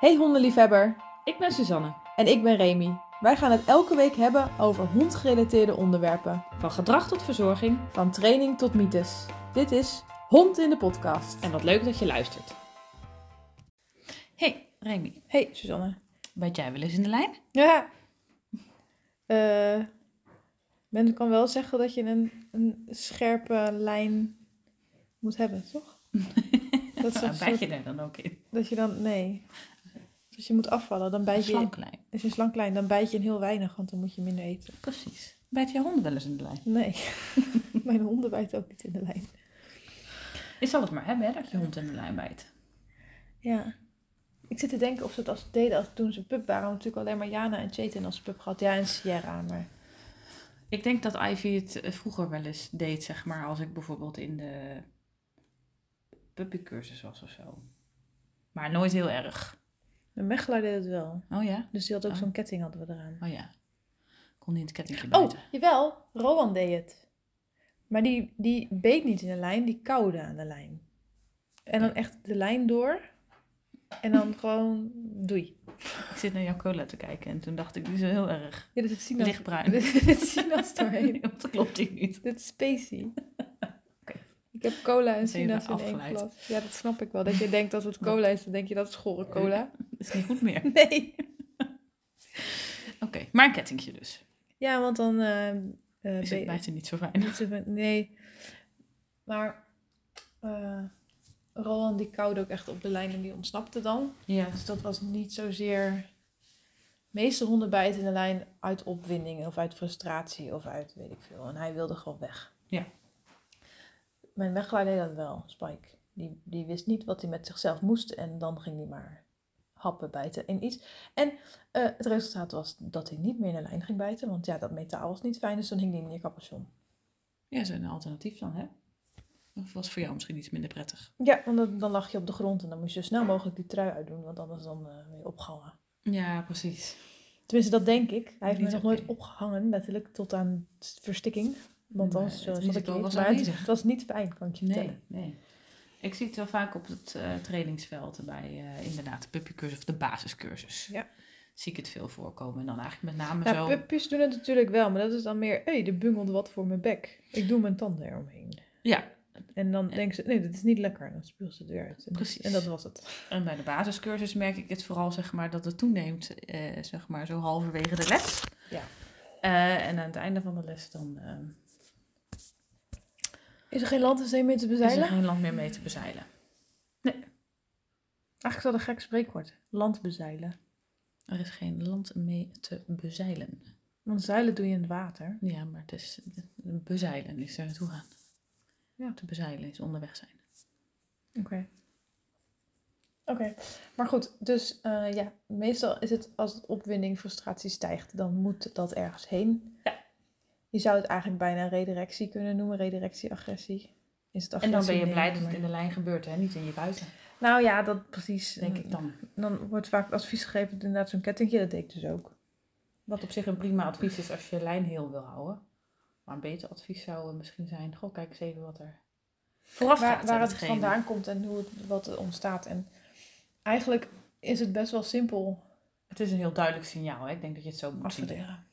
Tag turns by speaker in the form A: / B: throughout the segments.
A: Hey hondenliefhebber
B: Ik ben Suzanne,
A: en ik ben Remy. Wij gaan het elke week hebben over hondgerelateerde onderwerpen,
B: van gedrag tot verzorging
A: van training tot mythes. Dit is Hond in de podcast.
B: en wat leuk dat je luistert. Hey Remy,
A: Hey Suzanne.
B: ben jij wel eens in de lijn?
A: Ja. Eh, men kan wel zeggen dat je een, een scherpe lijn moet hebben, toch? Dat is een
B: ben
A: soort-
B: Nou, je er dan ook in?
A: dat je dan nee. Als je moet afvallen, dan bijt je.
B: Slanklijn.
A: Als je een slank lijn, dan bijt je een heel weinig, want dan moet je minder eten.
B: Precies. Bijt je honden wel eens in de lijn?
A: Nee, mijn honden bijten ook niet in de lijn.
B: Je zal het maar hebben hè, dat je hond in de lijn bijt.
A: Ja. Ik zit te denken of ze het als deden als toen ze pup waren. Natuurlijk alleen maar Jana en Chetan als pup gehad. Ja, en Sierra, maar...
B: Ik denk dat Ivy het eh, vroeger wel eens deed, zeg maar, als ik bijvoorbeeld in de puppycursus was of zo. Maar nooit heel erg.
A: De Mechelaar deed het wel.
B: Oh ja?
A: Dus die had ook
B: Oh.
A: zo'n ketting hadden we eraan.
B: Oh ja. Kon niet in het kettingje
A: Oh,
B: bijten.
A: jawel. Rowan deed het. Maar die, die beet niet in de lijn, die kauwde aan de lijn. En dan echt de lijn door. En dan gewoon doei.
B: Ik zit naar jouw cola te kijken en toen dacht ik, die is wel heel erg
A: Ja, dit is Sinas.
B: lichtbruin.
A: Dit is Sinas doorheen.
B: Dat klopt hier niet.
A: Dit is spacey. Ik heb cola en
B: Dan ben je
A: Sinas
B: weer
A: in één
B: afgeleid.
A: glas. Ja, dat snap ik wel. Dat je denkt dat het cola is, dan denk je dat is gore cola.
B: Dat is niet goed meer.
A: Nee.
B: Oké, maar een kettingje dus.
A: Ja, want dan. eh, eh,
B: Is
A: ben
B: het
A: je-
B: buiten niet zo fijn.
A: niet zo van- nee. Maar. eh Roland die koude ook echt op de lijn en die ontsnapte dan.
B: Ja.
A: Dus dat was niet zozeer. De meeste honden bijten in de lijn uit opwinding of uit frustratie of uit weet ik veel. En hij wilde gewoon weg.
B: Ja.
A: Mijn mechelaar deed dat wel, Spike. Die, die wist niet wat hij met zichzelf moest en dan ging hij maar happen bijten in iets. En eh, het resultaat was dat hij niet meer in de lijn ging bijten, want ja, dat metaal was niet fijn, dus dan hing hij in je capuchon.
B: Ja, zo'n alternatief dan, hè? Of was voor jou misschien iets minder prettig?
A: Ja, want dan, dan lag je op de grond en dan moest je zo snel mogelijk die trui uitdoen, want anders dan eh weer opgehangen.
B: Ja, precies.
A: Tenminste, dat denk ik. Hij heeft me
B: Niet
A: nog
B: oké.
A: nooit opgehangen, letterlijk, tot aan s- verstikking. Want
B: Maar
A: dan
B: het
A: zo zat ik
B: risico
A: niet.
B: was
A: Maar het,
B: aanwezig.
A: het was niet fijn, kan ik je vertellen.
B: Nee, nee. Ik zie het wel vaak op het eh, trainingsveld bij eh, inderdaad de puppycursus of de basiscursus.
A: Ja.
B: Zie ik het veel voorkomen. En dan eigenlijk met name
A: Ja,
B: zo...
A: pupjes doen het natuurlijk wel, maar dat is dan meer... Hé, er bungelt wat voor mijn bek. Ik doe mijn tanden eromheen.
B: Ja,
A: En dan denken ze, nee, dit is niet lekker. En dan spuugt ze het weer uit. En,
B: Precies.
A: En dat was het.
B: en bij de basiscursus merk ik het vooral zeg maar dat het toeneemt, eh, zeg maar zo halverwege de les.
A: Ja.
B: Eh, en aan het einde van de les dan... eh,
A: Is er geen landensteem meer te
B: is
A: bezeilen?
B: er geen land meer mee te bezeilen.
A: Eigenlijk is dat een gek spreekwoord. Land bezeilen.
B: Er is geen land mee te bezeilen.
A: Want zeilen doe je in het water.
B: Ja, maar het is bezeilen is er naartoe gaan.
A: Ja.
B: Te bezeilen is onderweg zijn.
A: Oké. Oké, maar goed, dus eh, ja, meestal is het als het opwinding, frustratie stijgt, dan moet dat ergens heen.
B: Ja.
A: Je zou het eigenlijk bijna redirectie kunnen noemen, redirectie, agressie. Is het
B: En
A: agressie?
B: dan ben je
A: Nee,
B: blij dat het
A: maar-
B: in de lijn gebeurt, hè? niet in je buiten,
A: Nou ja, dat precies.
B: denk ik dan.
A: Dan wordt vaak advies gegeven, inderdaad zo'n kettingje, dat deed ik dus ook.
B: Wat op zich een prima advies is als je je lijn heel wil houden. Maar een beter advies zou misschien zijn, goh, kijk eens even wat er vooraf
A: waar,
B: gaat.
A: waar
B: aan
A: het
B: hetgene.
A: vandaan komt en hoe het, wat er ontstaat. En eigenlijk is het best wel simpel
B: Het is een heel duidelijk signaal, hè? ik denk dat je het zo moet zien.
A: afleren.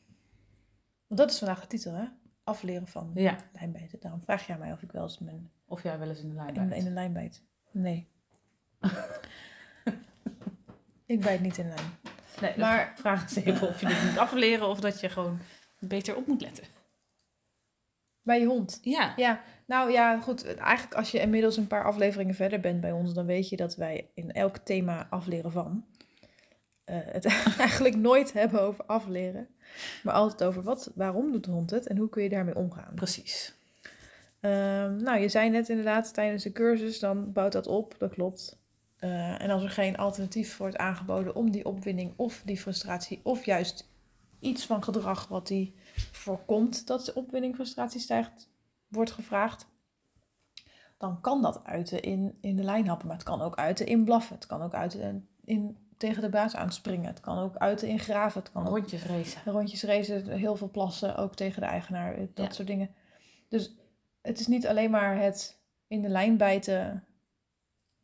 A: Want dat is vandaag de titel, hè? Afleren van
B: Ja,
A: lijnbijten. Daarom vraag jij mij of ik wel eens mijn,
B: of jij wel eens in de lijn
A: in,
B: bent.
A: in een lijn bijt. Nee. ik bijt niet in een lijn.
B: Nee, dus
A: Maar-
B: vraag eens even of je dit moet afleren of dat je gewoon beter op moet letten.
A: Bij je hond.
B: Ja,
A: Ja, nou ja, goed. Eigenlijk als je inmiddels een paar afleveringen verder bent bij ons, dan weet je dat wij in elk thema afleren van. eh, het eigenlijk nooit hebben over afleren, maar altijd over wat, waarom doet de hond het en hoe kun je daarmee omgaan.
B: precies.
A: Ehm, nou, je zei net inderdaad, tijdens de cursus, dan bouwt dat op, dat klopt. Eh, en als er geen alternatief wordt aangeboden om die opwinding of die frustratie, of juist iets van gedrag wat die voorkomt dat de opwinding frustratie stijgt, wordt gevraagd, dan kan dat uiten in, in de lijn happen. Maar het kan ook uiten in blaffen, het kan ook uiten in, in tegen de baas aanspringen, het kan ook uiten in graven, het kan ook
B: Rondjes racen.
A: rondjes racen, heel veel plassen, ook tegen de eigenaar, eh, dat
B: Ja.
A: soort dingen. Dus het is niet alleen maar het in de lijn bijten. Het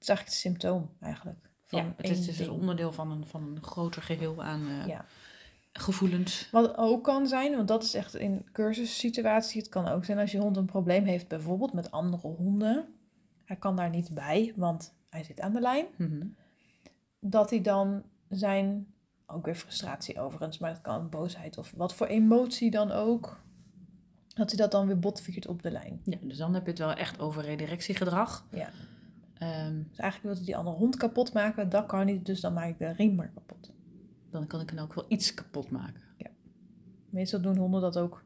A: is eigenlijk het symptoom eigenlijk van
B: ja, het
A: één
B: is dus
A: ding.
B: een onderdeel van een, van een groter geheel aan eh,
A: Ja.
B: gevoelens.
A: Wat ook kan zijn, want dat is echt in cursussituatie. Het kan ook zijn als je hond een probleem heeft, bijvoorbeeld met andere honden. Hij kan daar niet bij, want hij zit aan de lijn.
B: Mhm.
A: Dat hij dan zijn, ook weer frustratie overigens, maar het kan boosheid of wat voor emotie dan ook. Dat hij dat dan weer botviert op de lijn.
B: Ja, dus dan heb je het wel echt over redirectiegedrag.
A: Ja.
B: Ehm,
A: Dus eigenlijk wil hij die andere hond kapot maken. Dat kan niet, dus dan maak ik de riem maar kapot.
B: dan kan ik dan ook wel iets kapot maken.
A: Meestal doen honden dat ook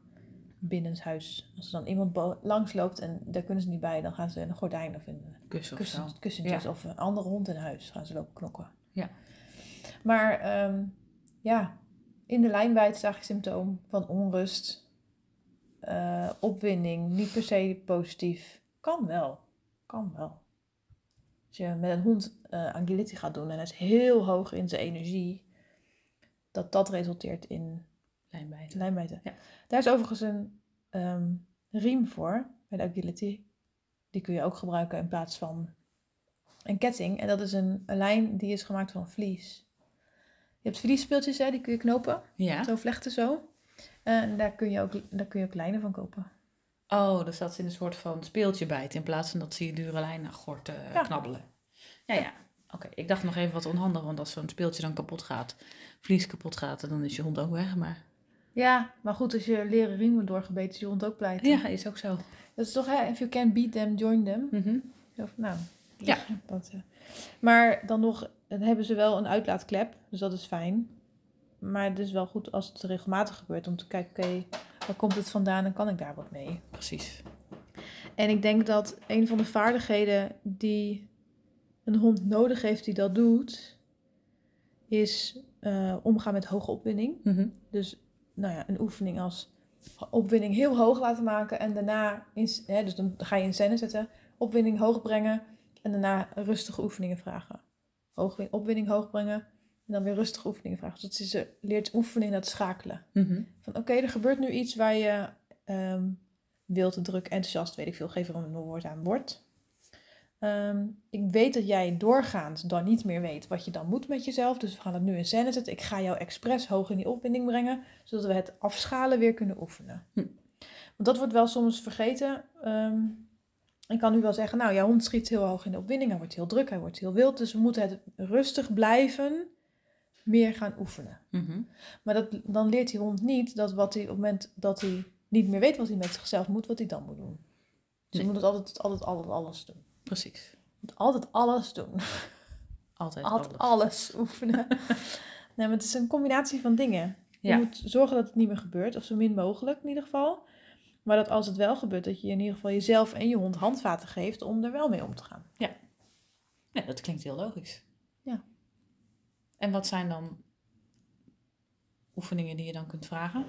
A: binnenshuis. Als er dan iemand bo- langs loopt en daar kunnen ze niet bij, dan gaan ze een gordijn of een
B: Kussen of zo.
A: kussen, kussentjes of een andere hond in huis gaan ze lopen knokken.
B: Ja.
A: Maar ehm, ja, in de lijn bij het zag je symptoom van onrust, eh, opwinding, niet per se positief. Kan wel, kan wel. Als je met een hond eh agility gaat doen en hij is heel hoog in zijn energie, dat dat resulteert in
B: Lijnbijten.
A: lijnbijten.
B: Ja.
A: Daar is overigens een ehm, riem voor, bij de agility. Die kun je ook gebruiken in plaats van een ketting. En dat is een, een lijn die is gemaakt van vlies. Je hebt vliesspeeltjes, hè, die kun je knopen.
B: Ja.
A: Zo vlechten zo. Eh, En daar kun, je ook, daar kun je ook lijnen van kopen.
B: Oh, dus dat ze in een soort van speeltje bijt in plaats van dat ze je dure lijn aan gort eh,
A: Ja.
B: knabbelen. Ja, ja. Oké, ik dacht nog even wat onhandig, want als zo'n speeltje dan kapot gaat, vlies kapot gaat, dan is je hond ook weg. Maar
A: Ja, maar goed, als je leren riem wordt doorgebeten, is je hond ook pleit.
B: ja, is ook zo.
A: Dat is toch, hè, if you can beat them, join them.
B: Mhm.
A: Of, nou, dus
B: Ja.
A: Dat, eh. Maar dan nog, dan hebben ze wel een uitlaatklep, dus dat is fijn. Maar het is wel goed als het regelmatig gebeurt om te kijken, oké, waar komt het vandaan en kan ik daar wat mee?
B: Precies.
A: En ik denk dat een van de vaardigheden die een hond nodig heeft die dat doet, is eh, omgaan met hoge opwinding.
B: Mhm.
A: Dus nou ja, een oefening als opwinding heel hoog laten maken en daarna, in, hè, dus dan ga je in scène zetten, opwinding hoog brengen en daarna rustige oefeningen vragen. Hoog, opwinding hoog brengen en dan weer rustige oefeningen vragen. Dus dat is, ze leert oefenen in dat schakelen.
B: Mhm.
A: Van oké, er gebeurt nu iets waar je ehm wild, druk, enthousiast, weet ik veel, geef er een woord aan wordt. Ehm, ik weet dat jij doorgaans dan niet meer weet wat je dan moet met jezelf. Dus we gaan het nu in scène zetten. Ik ga jou expres hoog in die opwinding brengen, zodat we het afschalen weer kunnen oefenen.
B: Hm.
A: Want dat wordt wel soms vergeten. Ehm, ik kan nu wel zeggen, nou, jouw hond schiet heel hoog in de opwinding. Hij wordt heel druk, hij wordt heel wild. Dus we moeten het rustig blijven meer gaan oefenen.
B: Mhm.
A: Maar dat, dan leert die hond niet dat wat hij op het moment dat hij niet meer weet wat hij met zichzelf moet, wat hij dan moet doen. Dus
B: Nee.
A: hij moet het altijd, altijd, altijd alles doen.
B: Precies.
A: Moet altijd alles doen.
B: Altijd
A: Altijd
B: alles.
A: alles oefenen. nee, maar het is een combinatie van dingen. Je
B: Ja.
A: moet zorgen dat het niet meer gebeurt, of zo min mogelijk in ieder geval. Maar dat als het wel gebeurt, dat je in ieder geval jezelf en je hond handvaten geeft om er wel mee om te gaan.
B: Ja, dat klinkt heel logisch.
A: Ja.
B: En wat zijn dan oefeningen die je dan kunt vragen?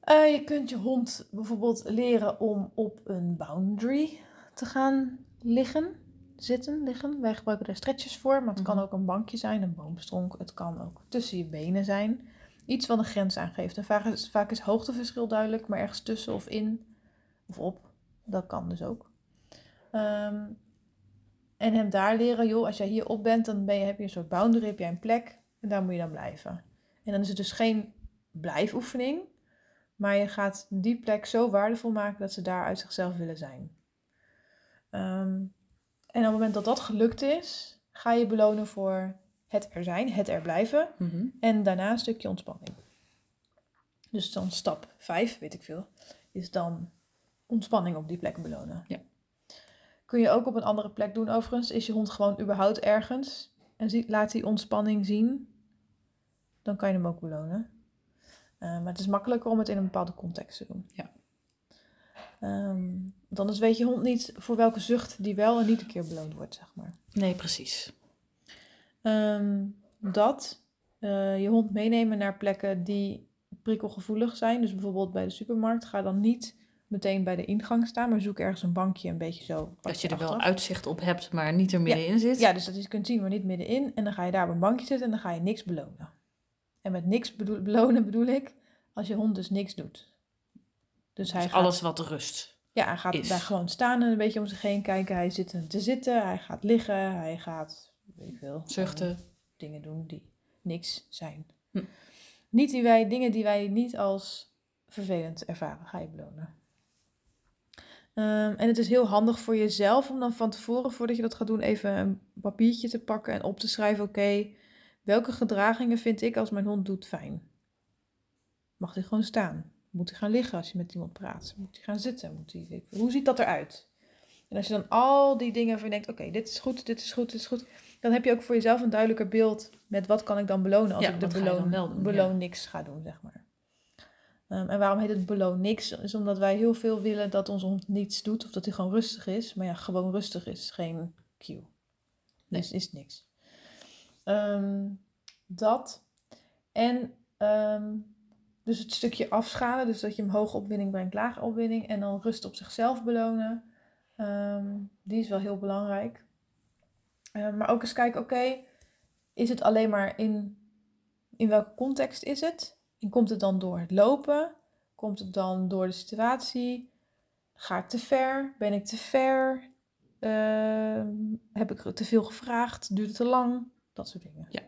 A: Eh, je kunt je hond bijvoorbeeld leren om op een boundary te gaan liggen. Zitten, liggen. Wij gebruiken daar stretches voor, maar het kan
B: Mhm.
A: ook een bankje zijn, een boomstronk. Het kan ook tussen je benen zijn. Iets wat een grens aangeeft. En vaak is, vaak is hoogteverschil duidelijk, maar ergens tussen of in of op. Dat kan dus ook. Ehm, en hem daar leren, joh, als jij hier op bent, dan ben je, heb je een soort boundary, heb jij een plek. En daar moet je dan blijven. En dan is het dus geen blijfoefening, maar je gaat die plek zo waardevol maken dat ze daar uit zichzelf willen zijn. Ehm, en op het moment dat dat gelukt is, ga je belonen voor het er zijn, het er blijven.
B: Mhm.
A: En daarna een stukje ontspanning. Dus dan stap 5, weet ik veel, is dan ontspanning op die plek belonen.
B: Ja.
A: Kun je ook op een andere plek doen overigens. Is je hond gewoon überhaupt ergens en ziet, laat die ontspanning zien, dan kan je hem ook belonen. Eh, maar het is makkelijker om het in een bepaalde context te doen.
B: Ja.
A: Ehm, want anders weet je hond niet voor welke zucht die wel en niet een keer beloond wordt, zeg maar.
B: Nee, precies.
A: Ehm, dat eh, je hond meenemen naar plekken die prikkelgevoelig zijn. Dus bijvoorbeeld bij de supermarkt. Ga dan niet meteen bij de ingang staan, maar zoek ergens een bankje een beetje zo. wat
B: Dat je er wel
A: achteraf-
B: uitzicht op hebt, maar niet er middenin zit.
A: Ja, dus dat je kunt zien, maar niet middenin. En dan ga je daar op een bankje zitten en dan ga je niks belonen. En met niks bedoel- belonen bedoel ik als je hond dus niks doet. Dus hij
B: Dus
A: gaat
B: alles wat rust.
A: ja, hij gaat
B: is.
A: daar gewoon staan en een beetje om zich heen kijken. Hij zit te zitten, hij gaat liggen, hij gaat weet ik veel.
B: Zuchten.
A: dingen doen die niks zijn.
B: Hm.
A: Niet die wij, dingen die wij niet als vervelend ervaren, ga je belonen. Ehm, en het is heel handig voor jezelf om dan van tevoren, voordat je dat gaat doen, even een papiertje te pakken en op te schrijven: oké, welke gedragingen vind ik als mijn hond doet fijn? Mag hij gewoon staan? Moet hij gaan liggen als je met iemand praat? Moet hij gaan zitten? Moet hij, hoe ziet dat eruit? En als je dan al die dingen van je denkt: oké, dit is goed, dit is goed, dit is goed dan heb je ook voor jezelf een duidelijker beeld met wat kan ik dan belonen als
B: Ja,
A: ik de
B: wat ga je dan
A: beloon,
B: wel doen,
A: beloon
B: ja.
A: niks ga doen, zeg maar. Ehm, en waarom heet het beloon niks? Is omdat wij heel veel willen dat onze hond niets doet of dat hij gewoon rustig is. Maar ja, gewoon rustig is geen cue.
B: Nee.
A: Dus is niks. Ehm, dat. En ehm, dus het stukje afschalen, dus dat je hem hoge opwinding brengt, lage opwinding. En dan rust op zichzelf belonen. Ehm, die is wel heel belangrijk. Eh, maar ook eens kijken, oké, is het alleen maar in, in welke context is het? En komt het dan door het lopen? Komt het dan door de situatie? Ga ik te ver? Ben ik te ver? Ehm, heb ik te veel gevraagd? Duurt het te lang? Dat soort dingen.
B: Ja.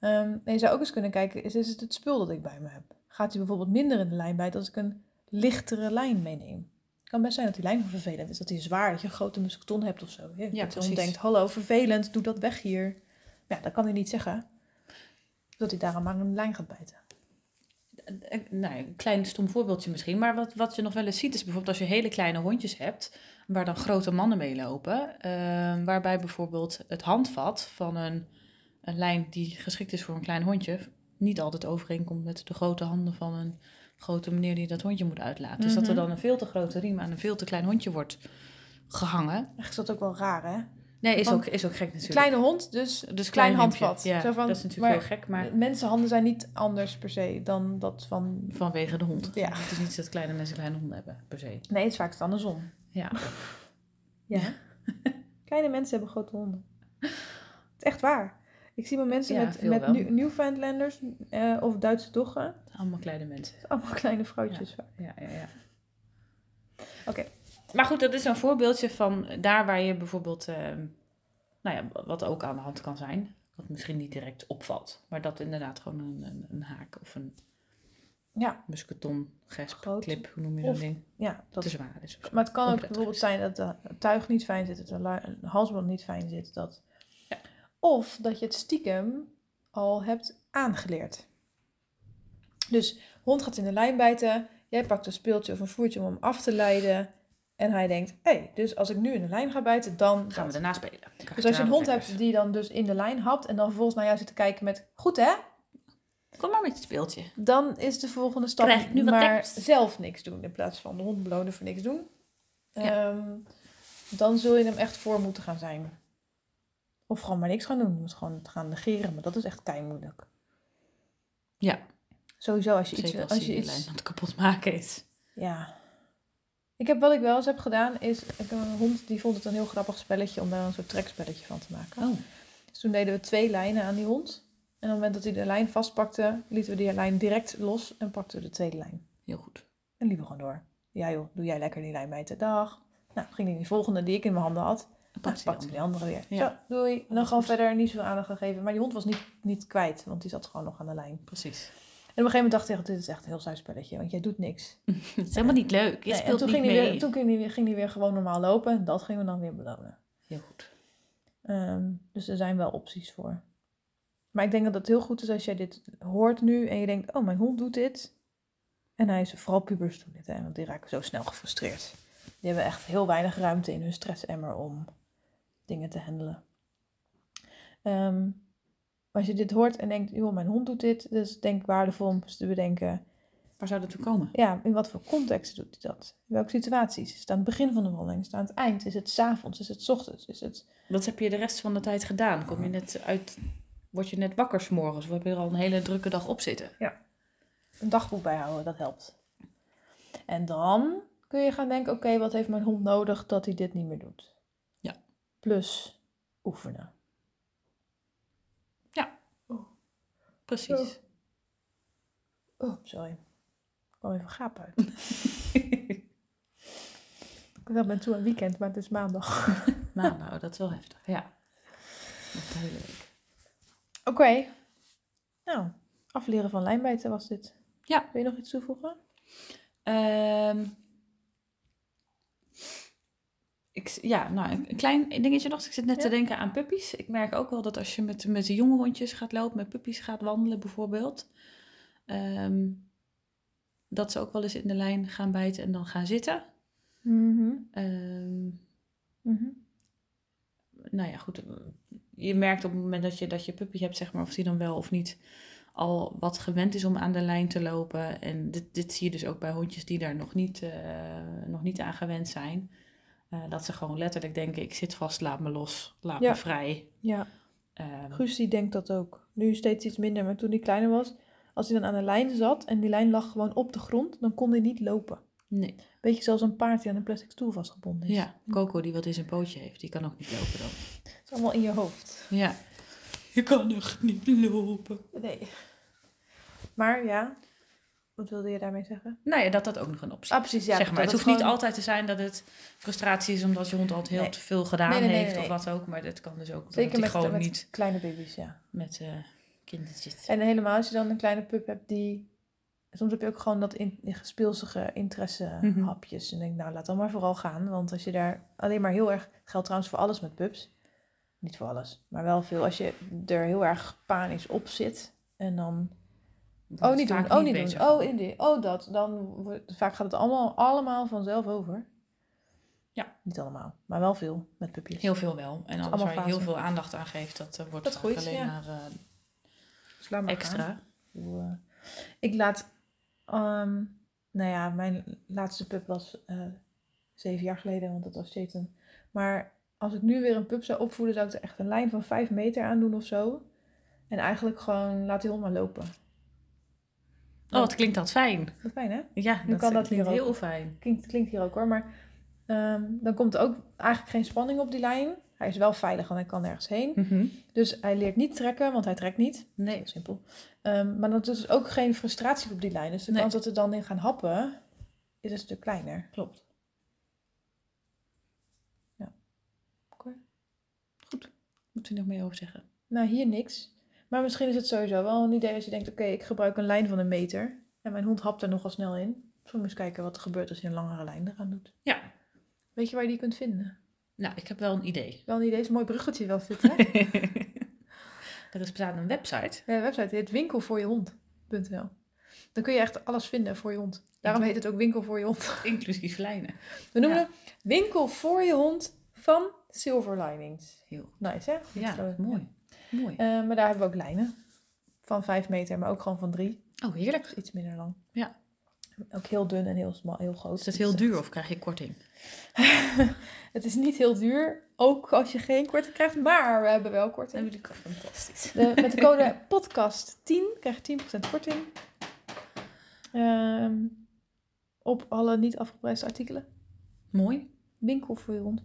A: Ehm, en je zou ook eens kunnen kijken, is, is het het spul dat ik bij me heb? Gaat hij bijvoorbeeld minder in de lijn bijt als ik een lichtere lijn meeneem? Het kan best zijn dat die lijn vervelend is, dat die zwaar, dat je een grote musketon hebt of zo. Ja, dat je dan
B: precies.
A: denkt, hallo, vervelend, doe dat weg hier. Ja, dat kan hij niet zeggen. Dat hij daarom maar een lijn gaat bijten.
B: Eh, nou, een klein stom voorbeeldje misschien, maar wat, wat je nog wel eens ziet is bijvoorbeeld als je hele kleine hondjes hebt, waar dan grote mannen mee lopen, eh, waarbij bijvoorbeeld het handvat van een, een lijn die geschikt is voor een klein hondje, niet altijd overeenkomt met de grote handen van een grote meneer die dat hondje moet uitlaten. Dus dat er
A: Mhm.
B: dan een veel te grote riem aan een veel te klein hondje wordt gehangen.
A: Echt, is dat ook wel raar, hè?
B: Nee, is,
A: Want
B: ook, is ook gek natuurlijk.
A: Kleine hond, dus
B: dus
A: klein
B: hondje.
A: handvat.
B: Ja,
A: Zo van,
B: dat is natuurlijk
A: maar-
B: heel gek, maar
A: mensenhanden zijn niet anders per se dan dat van...
B: vanwege de hond.
A: Ja.
B: Het is niet dat kleine mensen kleine honden hebben, per se.
A: Nee, het is vaak het andersom.
B: Ja.
A: Ja. Kleine mensen hebben grote honden. Het is echt waar. Ik zie wel mensen
B: Ja,
A: met,
B: veel
A: met
B: wel.
A: New- Newfoundlanders eh, of Duitse doggen.
B: Allemaal kleine mensen.
A: Allemaal kleine vrouwtjes.
B: Ja, ja, ja.
A: Oké.
B: Maar goed, dat is een voorbeeldje van daar waar je bijvoorbeeld, ehm, nou ja, wat ook aan de hand kan zijn. Wat misschien niet direct opvalt. Maar dat inderdaad gewoon een, een, een haak of een
A: Ja.
B: musketon, gesp,
A: Groot.
B: clip, hoe noem je dat
A: Of-
B: ding?
A: Ja, dat
B: te zwaar is. of zo.
A: Maar het kan ook
B: Onprettig
A: bijvoorbeeld
B: is.
A: zijn dat de- het tuig niet fijn zit, dat de la- een halsband niet fijn zit. Dat... Of dat je het stiekem al hebt aangeleerd. Dus hond gaat in de lijn bijten, jij pakt een speeltje of een voertje om hem af te leiden. En hij denkt, hé, hey, dus als ik nu in de lijn ga bijten, dan
B: Gaan we
A: dat.
B: daarna spelen. Dan krijg
A: Dus als je een
B: daarna
A: hond
B: wat
A: hebt die dan dus in de lijn hapt en dan vervolgens naar jou zit te kijken met, goed hè,
B: lekkers. Kom maar met je speeltje.
A: dan is de volgende stap
B: Krijg ik nu wat
A: maar
B: tekst?
A: zelf niks doen in plaats van de hond belonen voor niks doen. Ehm, dan zul je hem echt voor moeten gaan zijn. Of gewoon maar niks gaan doen. Je moet gewoon het gaan negeren, maar dat is echt keimoeilijk.
B: Ja.
A: Sowieso als je iets...
B: Zeker
A: Als
B: als
A: je
B: je die
A: iets
B: lijn aan het kapot maken is.
A: ja. Ik heb, wat ik wel eens heb gedaan, is... Ik heb een hond die vond het een heel grappig spelletje om daar een soort trekspelletje van te maken.
B: Oh.
A: Dus toen deden we twee lijnen aan die hond. En op het moment dat hij de lijn vastpakte, lieten we die lijn direct los en pakten we de tweede lijn.
B: Heel goed.
A: En liepen gewoon door. Ja joh, doe jij lekker die lijn bij te dag. Nou, ging die volgende die ik in mijn handen had.
B: Dan
A: Nou,
B: pakt hij
A: pakte
B: dan.
A: die andere weer.
B: Ja.
A: Zo, doei. En dan
B: is
A: gewoon
B: goed.
A: verder niet zoveel aandacht aan geven. Maar die hond was niet, niet kwijt, want die zat gewoon nog aan de lijn. En op
B: Precies.
A: een gegeven moment dacht ik, echt, dit is echt een heel saai spelletje, want jij doet niks.
B: Het is helemaal niet leuk. Je
A: Nee, en
B: speelt
A: toen,
B: niet
A: ging
B: mee.
A: die Weer, toen ging die, weer, ging die weer gewoon normaal lopen. En dat gingen we dan weer belonen.
B: Heel goed.
A: Ehm, dus er zijn wel opties voor. Maar ik denk dat het heel goed is als jij dit hoort nu en je denkt, oh mijn hond doet dit. En hij is, vooral pubers doen dit, hè, want die raken zo snel gefrustreerd. Die hebben echt heel weinig ruimte in hun stressemmer om dingen te handelen. Ehm, maar als je dit hoort en denkt, joh, mijn hond doet dit, dus denk ik waardevol om eens te bedenken,
B: Waar zou dat toe komen?
A: ja, in wat voor context doet hij dat? In welke situaties? Is het aan het begin van de wandeling? Is het aan het eind? Is het 's avonds? Is het 's ochtends? Is het
B: Wat heb je de rest van de tijd gedaan? Kom je net uit, word je net wakker 's morgens? Of heb je er al een hele drukke dag op zitten?
A: een dagboek bijhouden, dat helpt. En dan kun je gaan denken, oké, wat heeft mijn hond nodig dat hij dit niet meer doet?
B: Ja.
A: Plus oefenen.
B: Precies.
A: Oh, sorry. Ik kwam even gaap uit. Ik dacht, ik ben toe aan weekend, maar het is maandag.
B: Nou, Maandag, dat is wel heftig. Ja. de hele week.
A: Oké. Nou, afleren van lijnbijten was dit.
B: Ja.
A: Wil je nog iets toevoegen?
B: Ehm, ik, s- ja, nou, een een klein dingetje nog. Ik zit net
A: Ja.
B: te denken aan puppies. Ik merk ook wel dat als je met, met de jonge hondjes gaat lopen, met puppies gaat wandelen bijvoorbeeld, ehm, dat ze ook wel eens in de lijn gaan bijten en dan gaan zitten.
A: Mhm.
B: Ehm,
A: Mhm.
B: nou ja, goed. Je merkt op het moment dat je, dat je puppy hebt, zeg maar, of die dan wel of niet al wat gewend is om aan de lijn te lopen. En dit, dit zie je dus ook bij hondjes die daar nog niet, eh, nog niet aan gewend zijn. Eh, dat ze gewoon letterlijk denken, ik zit vast, laat me los, laat
A: Ja.
B: me vrij.
A: Ja,
B: Ehm,
A: Guus die denkt dat ook. Nu steeds iets minder, maar toen hij kleiner was, als hij dan aan de lijn zat en die lijn lag gewoon op de grond, dan kon hij niet lopen.
B: nee.
A: Beetje zoals een paard die aan een plastic stoel vastgebonden is.
B: Ja, Coco die wat in zijn pootje heeft, die kan ook niet lopen dan.
A: Het is allemaal in je hoofd.
B: Ja. Je kan echt niet lopen.
A: Nee. Maar ja, wat wilde je daarmee zeggen?
B: Nou ja, dat dat ook nog een optie
A: Ah, precies, ja.
B: zeg maar.
A: dat
B: Het hoeft
A: gewoon-
B: niet altijd te zijn dat het frustratie is omdat je hond altijd heel
A: Nee.
B: te veel gedaan
A: Nee, nee, nee,
B: heeft
A: nee,
B: of wat ook. Maar dat kan dus ook
A: Zeker
B: dat hij
A: met,
B: gewoon
A: met Eh,
B: niet
A: kleine baby's, ja.
B: met eh kindertjes.
A: En helemaal als je dan een kleine pup hebt die... Soms heb je ook gewoon dat in, speelsige interesse
B: Mhm.
A: hapjes. En denk ik, nou, laat dan maar vooral gaan. Want als je daar alleen maar heel erg... geldt trouwens voor alles met pups. Niet voor alles, maar wel veel. Als je er heel erg panisch op zit en
B: Oh,
A: dan...
B: Wordt
A: Oh, niet doen,
B: vaak
A: oh, niet
B: beter
A: doen, oh,
B: van.
A: in die, oh, dat. Dan wordt, vaak gaat het allemaal, allemaal vanzelf over.
B: Ja.
A: Niet allemaal, maar wel veel met pupjes.
B: Heel veel wel. En alles
A: allemaal
B: waar je heel
A: fasen.
B: veel aandacht aan geeft, dat eh, wordt
A: Dat
B: vaak
A: groeit,
B: alleen
A: ja.
B: maar eh,
A: Sla maar aan.
B: extra.
A: bedoel, eh, Ik laat, ehm, nou ja, mijn laatste pup was eh, zeven jaar geleden, want dat was Satan. Maar als ik nu weer een pup zou opvoeden, zou ik er echt een lijn van vijf meter aan doen of zo. En eigenlijk gewoon laat die hond maar lopen.
B: Oh, wat klinkt dat fijn.
A: Dat is fijn, hè?
B: Ja,
A: Nu
B: dat
A: kan dat
B: klinkt
A: hier ook.
B: heel fijn.
A: Klinkt, klinkt hier ook hoor, maar ehm, dan komt er ook eigenlijk geen spanning op die lijn. Hij is wel veilig, want hij kan nergens heen. Dus hij leert niet trekken, want hij trekt niet.
B: Nee.
A: Heel simpel. Ehm, maar dat is dus ook geen frustratie op die lijn. Dus de
B: Nee.
A: kans dat ze dan in gaan happen, is een stuk kleiner.
B: Klopt.
A: Ja. Oké.
B: Goed. Moet u nog meer over zeggen?
A: Nou, hier niks. Maar misschien is het sowieso wel een idee als je denkt, oké, ik gebruik een lijn van een meter. En mijn hond hapt er nogal snel in. Misschien moet je eens kijken wat er gebeurt als je een langere lijn eraan doet.
B: Ja.
A: Weet je waar je die kunt vinden?
B: Nou, ik heb wel een idee.
A: Wel een idee, is een mooi bruggetje wel zitten. hè?
B: er is bestaat een website.
A: ja, de Eh, website heet winkelvoorjehond.nl Dan kun je echt alles vinden voor je hond. Daarom heet het ook winkel voor je hond.
B: Inclusief lijnen.
A: We noemen
B: Ja.
A: het winkel voor je hond van Silver Linings.
B: Heel
A: Nice hè? Goed
B: Ja,
A: slogan.
B: mooi. mooi.
A: Eh, maar daar hebben we ook lijnen. Van 5 meter, maar ook gewoon van 3.
B: Oh, heerlijk.
A: Iets minder lang.
B: Ja.
A: Ook heel dun en heel, smal, heel groot. Dus, eh,
B: Is dat heel duur of krijg je korting?
A: Het is niet heel duur, ook als je geen korting krijgt, maar we hebben wel korting.
B: jullie fantastisch.
A: De- met de code podcast10 krijg je 10% korting. Ehm, op alle niet afgeprijsde artikelen.
B: Mooi.
A: Winkel voor je hond.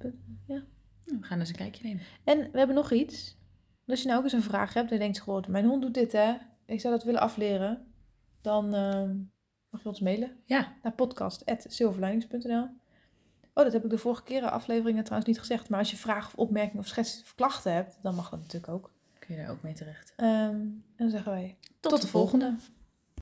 B: Nou, we gaan eens een kijkje nemen.
A: En we hebben nog iets. Als je nou ook eens een vraag hebt en je denkt, goh, mijn hond doet dit hè, ik zou dat willen afleren, dan ehm, mag je ons mailen
B: Ja,
A: naar podcast.silverlinings.nl. Oh, dat heb ik de vorige keren afleveringen trouwens niet gezegd, maar als je vragen of opmerkingen of schets of klachten hebt, dan mag dat natuurlijk ook.
B: kun je daar ook mee terecht.
A: Ehm, en dan zeggen wij
B: Tot, de volgende.